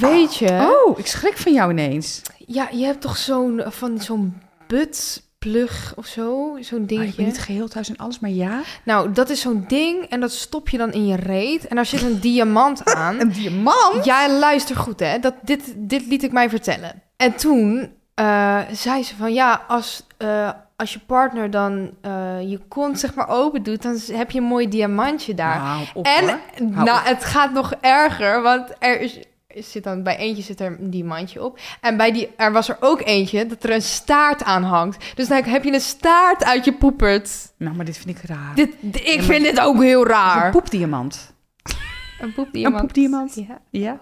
A: Weet je?
B: Oh, ik schrik van jou ineens.
A: Ja, je hebt toch zo'n eh, van zo'n buttplug of zo, zo'n
B: Ah, ik ben
A: dingetje.
B: niet geheel thuis en alles, maar ja.
A: Nou, dat is zo'n ding en dat stop je dan in je reet en daar zit een diamant aan.
B: Een diamant?
A: Ja, luister goed, hè? Dat, dit, dit liet ik mij vertellen. En toen eh, zei ze van ja, als, eh, als je partner dan eh, je kont zeg maar open doet, dan heb je een mooi diamantje daar.
B: Nou, op,
A: en
B: hoor. Hou
A: nou,
B: op.
A: het gaat nog erger, want er is, er zit dan bij eentje zit er een diamantje op en bij die er was er ook eentje dat er een staart aan hangt. Dus dan heb je een staart uit je poepert.
B: nou, maar dit vind ik raar.
A: Dit, d- ik
B: maar-
A: vind dit ook heel
B: Een
A: raar.
B: poepdiamant.
A: Een poepdiamant.
B: Een poepdiamant.
A: Ja.
B: Ja?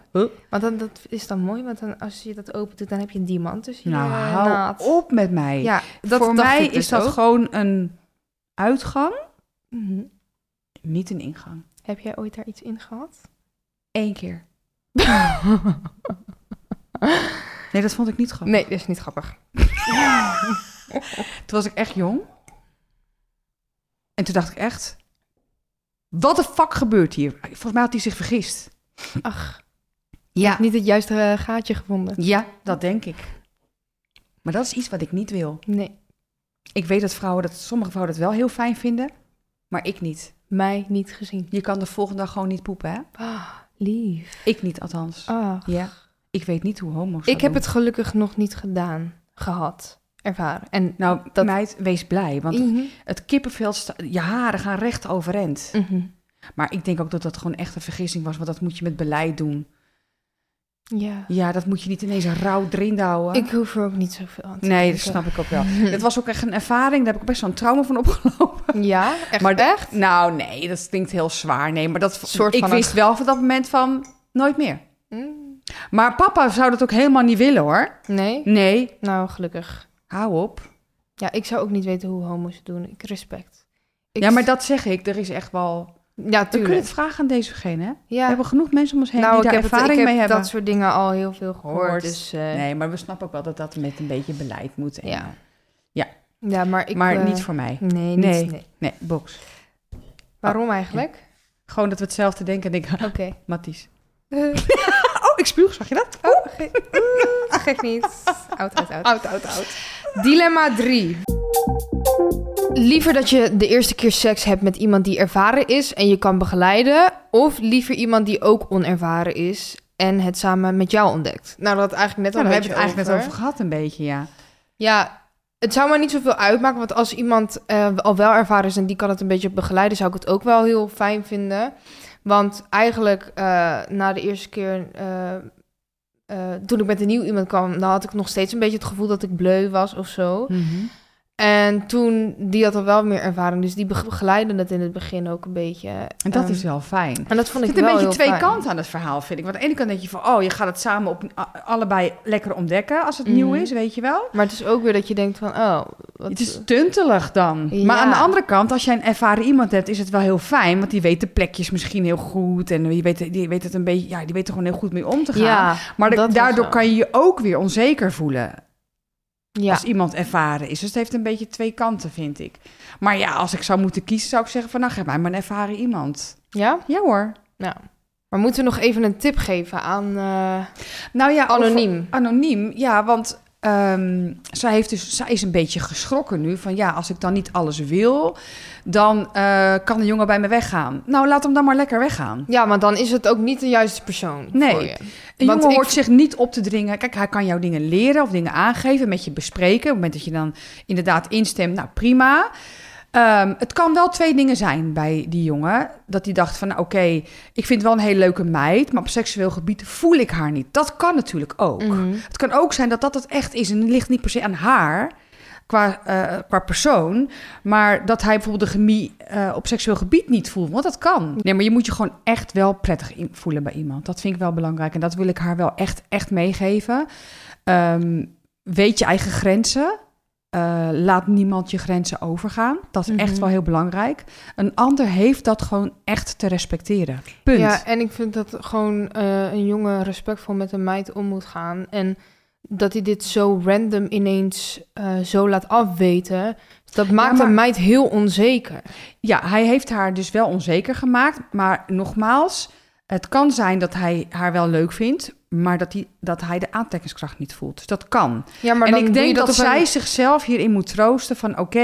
A: Want dan, dat is dan mooi, want dan, als je dat opent doet, dan heb je een diamant tussen
B: Nou,
A: je
B: hou
A: naad.
B: op met mij.
A: Ja, dat
B: Voor
A: dacht
B: mij
A: ik dus
B: is dat
A: ook.
B: gewoon een uitgang,
A: Mhm.
B: niet een ingang.
A: Heb jij ooit daar iets in gehad?
B: Eén keer. Nee, dat vond ik niet grappig.
A: nee, dat is niet grappig.
B: Toen was ik echt jong. En toen dacht ik echt... Wat de fuck gebeurt hier? Volgens mij had hij zich vergist.
A: Ach,
B: Ja.
A: niet het juiste eh, gaatje gevonden.
B: Ja, dat denk ik. Maar dat is iets wat ik niet wil.
A: Nee,
B: Ik weet dat vrouwen dat, sommige vrouwen dat wel heel fijn vinden, maar ik niet.
A: mij niet gezien.
B: Je kan de volgende dag gewoon niet poepen, hè?
A: Ah, lief.
B: Ik niet althans.
A: Ah.
B: Ja. Ik weet niet hoe homo's dat
A: Ik heb
B: doen.
A: het gelukkig nog niet gedaan, gehad, ervaren. En
B: Nou,
A: dat-
B: meid, wees blij, want
A: Mhm.
B: het kippenvel, sta- je haren gaan recht overeind.
A: Mhm.
B: Maar ik denk ook dat dat gewoon echt een vergissing was, want dat moet je met beleid doen.
A: ja.
B: Ja, dat moet je niet ineens rauw erin douwen.
A: Ik hoef er ook niet zoveel aan te
B: Nee,
A: denken.
B: dat snap ik ook wel. Het was ook echt een ervaring, daar heb ik ook best wel een trauma van opgelopen.
A: Ja, echt.
B: Maar
A: echt?
B: Nou, nee, dat klinkt heel zwaar. Nee, maar dat
A: Soort
B: ik
A: van
B: wist
A: een-
B: wel van dat moment van nooit meer.
A: Mm.
B: Maar papa zou dat ook helemaal niet willen hoor.
A: Nee?
B: Nee,
A: Nou, gelukkig.
B: hou op.
A: Ja, ik zou ook niet weten hoe homo's het doen. Ik respect. Ik
B: Ja, maar
A: s-
B: dat zeg ik. Er is echt wel.
A: Ja,
B: We kunnen
A: tuurlijk.
B: het vragen aan dezegene. Hè?
A: Ja.
B: We hebben genoeg mensen om ons heen
A: nou,
B: die
A: ik
B: daar
A: heb, het-
B: ervaring
A: ik
B: mee
A: heb
B: hebben.
A: dat soort dingen al heel veel gehoord.
B: Gehoord.
A: Dus, eh,
B: Nee, maar we snappen ook wel dat dat met een beetje beleid moet. En,
A: Ja. Ja, maar ik...
B: maar
A: eh,
B: niet voor mij.
A: Nee, niet,
B: Nee.
A: nee.
B: Nee, box.
A: Waarom eigenlijk?
B: Gewoon dat we hetzelfde denken en denken,
A: Oké.
B: Matties.
A: Eh,
B: Oh, ik spuug, zag je dat?
A: oh, ge- mm, gek niet. Oud, oud, oud.
B: Oud, oud, oud.
A: Dilemma 3. Liever dat je de eerste keer seks hebt met iemand die ervaren is en je kan begeleiden. Of liever iemand die ook onervaren is en het samen met jou ontdekt. Nou, dat had eigenlijk net
B: Ja,
A: al
B: daar
A: een
B: heb je
A: beetje
B: het eigenlijk net over gehad een beetje, ja.
A: Ja, het zou maar niet zoveel uitmaken. Want als iemand eh, al wel ervaren is en die kan het een beetje begeleiden, zou ik het ook wel heel fijn vinden. Want eigenlijk eh, na de eerste keer. eh, eh, toen ik met een nieuw iemand kwam, dan had ik nog steeds een beetje het gevoel dat ik bleu was of zo.
B: Mhm.
A: En toen, die had al wel meer ervaring, dus die bege- begeleidde het in het begin ook een beetje.
B: En dat
A: Ehm,
B: is wel fijn.
A: En dat vond
B: Er
A: ik
B: zitten
A: wel
B: een beetje
A: heel
B: twee
A: fijn.
B: kanten aan het verhaal, vind ik. Want aan de ene kant denk je van, oh, je gaat het samen op, a- allebei lekker ontdekken als het nieuw
A: Mhm.
B: is, weet je wel.
A: Maar het is ook weer dat je denkt van, oh, wat...
B: Het is tuntelig dan.
A: Ja.
B: Maar aan de andere kant, als jij een ervaren iemand hebt, is het wel heel fijn. Want die weet de plekjes misschien heel goed. En die weet, die weet het een beetje, ja, die weet er gewoon heel goed mee om te gaan.
A: ja,
B: Maar da-
A: dat was
B: daardoor
A: zo.
B: kan je je ook weer onzeker voelen
A: ja.
B: als iemand ervaren is. Dus het heeft een beetje twee kanten, vind ik. Maar ja, als ik zou moeten kiezen, zou ik zeggen van... nou, geef mij maar een ervaren iemand.
A: ja.
B: Ja hoor.
A: Maar moeten we nog even een tip geven aan eh,
B: Nou ja, over-
A: anoniem?
B: Anoniem, ja, want ehm, zij, heeft dus, zij is een beetje geschrokken nu. Van ja, als ik dan niet alles wil, dan eh, kan de jongen bij me weggaan. Nou, laat hem dan maar lekker weggaan.
A: Ja, maar dan is het ook niet de juiste persoon
B: Nee.
A: voor je.
B: Een
A: Want
B: jongen
A: ik-
B: hoort zich niet op te dringen. Kijk, hij kan jou dingen leren of dingen aangeven, met je bespreken. Op het moment dat je dan inderdaad instemt, nou prima. Ehm, het kan wel twee dingen zijn bij die jongen. Dat hij dacht van, nou, oké, ik vind wel een hele leuke meid... maar op seksueel gebied voel ik haar niet. Dat kan natuurlijk ook.
A: Mhm.
B: Het kan ook zijn dat dat het echt is. En het ligt niet per se aan haar qua, eh, qua persoon. Maar dat hij bijvoorbeeld de chemie eh, op seksueel gebied niet voelt. Want dat kan. Nee, maar je moet je gewoon echt wel prettig in- voelen bij iemand. Dat vind ik wel belangrijk. En dat wil ik haar wel echt, echt meegeven. Ehm, weet je eigen grenzen. Eh, laat niemand je grenzen overgaan. Dat is echt
A: Mhm.
B: wel heel belangrijk. Een ander heeft dat gewoon echt te respecteren. Punt.
A: Ja, en ik vind dat gewoon eh, een jongen respectvol met een meid om moet gaan. En dat hij dit zo random ineens eh, zo laat afweten, dat maakt
B: maar-
A: een meid heel onzeker.
B: Ja, hij heeft haar dus wel onzeker gemaakt. Maar nogmaals, het kan zijn dat hij haar wel leuk vindt, maar dat hij, dat hij de aantrekkingskracht niet voelt. Dus dat kan.
A: Ja, maar
B: en
A: dan
B: ik
A: doe je
B: denk dat,
A: dat op een-
B: zij zichzelf hierin moet troosten van oké,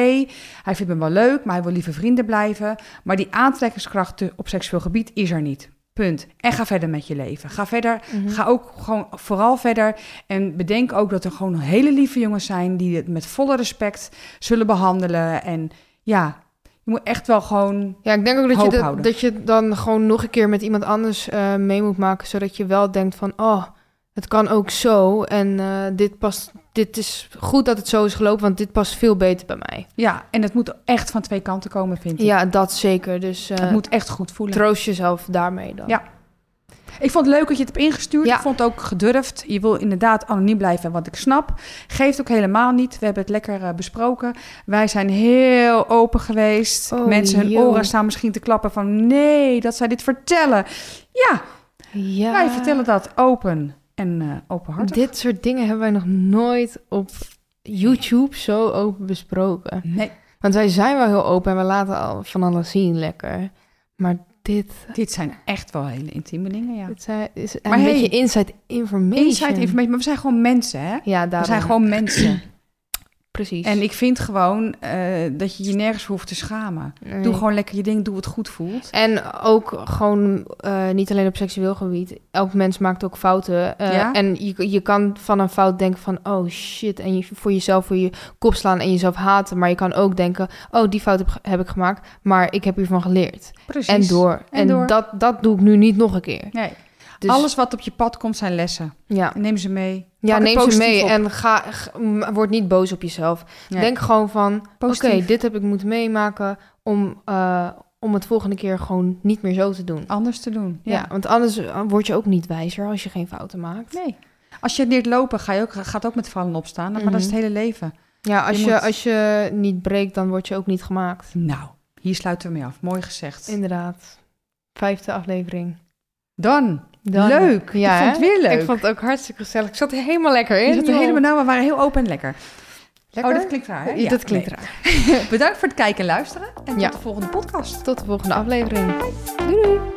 B: hij vindt me wel leuk, maar hij wil liever vrienden blijven. Maar die aantrekkingskracht op seksueel gebied is er niet. Punt. En ga verder met je leven. Ga verder.
A: Mhm.
B: Ga ook gewoon vooral verder. En bedenk ook dat er gewoon hele lieve jongens zijn die het met volle respect zullen behandelen. En ja, je moet echt wel gewoon.
A: Ja, ik denk ook dat
B: Hoop
A: je, dat,
B: houden.
A: dat je dan gewoon nog een keer met iemand anders eh, mee moet maken. Zodat je wel denkt van, oh, het kan ook zo. En eh, dit, past, dit is goed dat het zo is gelopen, want dit past veel beter bij mij.
B: Ja, en het moet echt van twee kanten komen, vind ik.
A: Ja, dat zeker. Dus eh,
B: Het moet echt goed voelen.
A: troost jezelf daarmee dan.
B: Ja. Ik vond het leuk dat je het hebt ingestuurd.
A: Ja.
B: Ik vond het ook gedurfd. Je wil inderdaad anoniem blijven, wat ik snap. Geeft ook helemaal niet. We hebben het lekker eh, besproken. Wij zijn heel open geweest.
A: Oh,
B: Mensen, hun
A: joh.
B: oren staan misschien te klappen van... nee, dat zij dit vertellen. Ja,
A: Ja.
B: wij vertellen dat open en eh openhartig.
A: Dit soort dingen hebben wij nog nooit op YouTube zo open besproken.
B: Nee,
A: Want wij zijn wel heel open en we laten al van alles zien lekker. Maar dit,
B: dit zijn echt wel hele intieme dingen, ja.
A: dit zijn- is een
B: Maar hey,
A: beetje inside information.
B: Inside information, maar we zijn gewoon mensen, hè?
A: Ja, daarom.
B: We zijn gewoon mensen.
A: Precies.
B: En ik vind gewoon eh, dat je je nergens voor hoeft te schamen.
A: Nee.
B: Doe gewoon lekker je ding, doe wat goed voelt.
A: En ook gewoon eh, niet alleen op seksueel gebied. Elk mens maakt ook fouten. eh,
B: Ja.
A: En je, je kan van een fout denken van... oh shit, en je, voor jezelf voor je kop slaan en jezelf haten. Maar je kan ook denken... oh, die fout heb, ge- heb ik gemaakt, maar ik heb hiervan geleerd.
B: Precies.
A: En door. En,
B: En door.
A: Dat, dat doe ik nu niet nog een keer.
B: Nee,
A: Dus
B: Alles wat op je pad komt zijn lessen.
A: ja,
B: Neem ze mee. Pak
A: ja
B: het
A: neem ze
B: positief
A: mee
B: op.
A: en ga, g- m- word niet boos op jezelf.
B: Nee,
A: Denk gewoon van... Oké,
B: positief.
A: dit heb ik moeten meemaken om, eh, om het volgende keer gewoon niet meer zo te doen.
B: Anders te doen.
A: Ja, want anders eh, word je ook niet wijzer als je geen fouten maakt.
B: Nee. Als je leert lopen, ga je ook, gaat ook met vallen opstaan. Maar dat is het
A: Mhm.
B: hele leven.
A: Ja, als
B: Je
A: je,
B: moet-
A: als je niet breekt, dan word je ook niet gemaakt.
B: Nou, hier sluiten we mee af. Mooi gezegd.
A: Inderdaad. Vijfde aflevering.
B: Dan.
A: Dan-
B: Leuk.
A: Ja,
B: ik vond het
A: hè?
B: weer leuk.
A: Ik vond het ook hartstikke gezellig. Ik zat er helemaal lekker in.
B: Je zat er
A: joh.
B: helemaal nauw, we waren heel open en lekker.
A: Lekker?
B: Oh, dat klinkt raar, hè?
A: Ja, dat klinkt
B: nee.
A: raar.
B: Bedankt voor het kijken en luisteren. En
A: Ja.
B: tot de volgende podcast.
A: Tot de volgende aflevering. Doei doei.